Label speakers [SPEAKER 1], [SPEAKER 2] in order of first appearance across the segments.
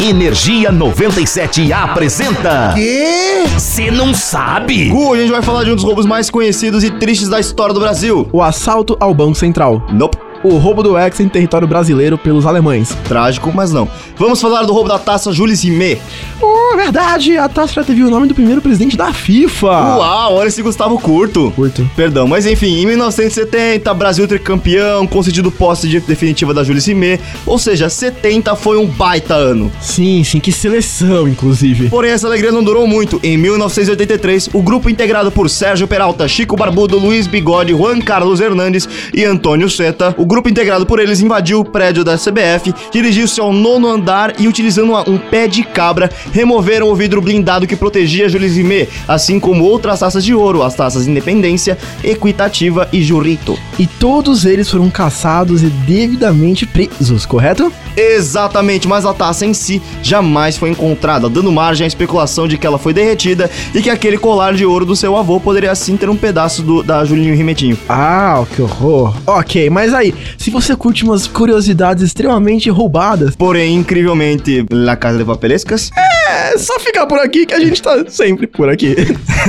[SPEAKER 1] Energia 97 apresenta.
[SPEAKER 2] Quê?
[SPEAKER 1] Você não sabe?
[SPEAKER 2] Gu, a gente vai falar de um dos roubos mais conhecidos e tristes da história do Brasil.
[SPEAKER 3] O assalto ao Banco Central.
[SPEAKER 2] Nope.
[SPEAKER 3] O roubo do ex em território brasileiro pelos alemães.
[SPEAKER 2] Trágico, mas não. Vamos falar do roubo da taça Jules Rimet.
[SPEAKER 3] Oh, verdade! A taça já teve o nome do primeiro presidente da FIFA.
[SPEAKER 2] Uau, olha esse Gustavo Curto.
[SPEAKER 3] Curto.
[SPEAKER 2] Perdão, mas enfim, em 1970, Brasil tricampeão, concedido posse de definitiva da Jules Rimet. Ou seja, 70 foi um baita ano.
[SPEAKER 3] Sim, sim, que seleção, inclusive.
[SPEAKER 2] Porém, essa alegria não durou muito. Em 1983, o grupo integrado por Sérgio Peralta, Chico Barbudo, Luiz Bigode, Juan Carlos Hernandes e Antônio Seta, o grupo integrado por eles invadiu o prédio da CBF, dirigiu-se ao nono andar e, utilizando uma- um pé de cabra, removeram o vidro blindado que protegia Jules Rimet, assim como outras taças de ouro, as taças Independência, Equitativa e Jurito.
[SPEAKER 3] E todos eles foram caçados e devidamente presos, correto?
[SPEAKER 2] Exatamente, mas a taça em si jamais foi encontrada, dando margem à especulação de que ela foi derretida e que aquele colar de ouro do seu avô poderia assim ter um pedaço do, da Julinho Rimetinho.
[SPEAKER 3] Ah, que horror. Ok, mas aí, se você curte umas curiosidades extremamente roubadas,
[SPEAKER 2] Porém, incrivelmente, La Casa de Papelescas,
[SPEAKER 3] é só ficar por aqui que a gente tá sempre por aqui.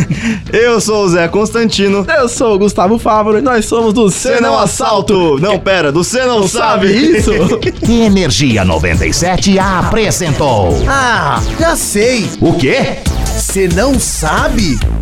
[SPEAKER 2] eu sou o Zé Constantino.
[SPEAKER 3] Eu sou o Gustavo Fávaro e nós somos do
[SPEAKER 2] Você não assalto! Não, pera, do Você não, sabe
[SPEAKER 3] isso?
[SPEAKER 1] Energia 97 apresentou.
[SPEAKER 4] Ah, já sei.
[SPEAKER 1] O quê?
[SPEAKER 4] Você não sabe?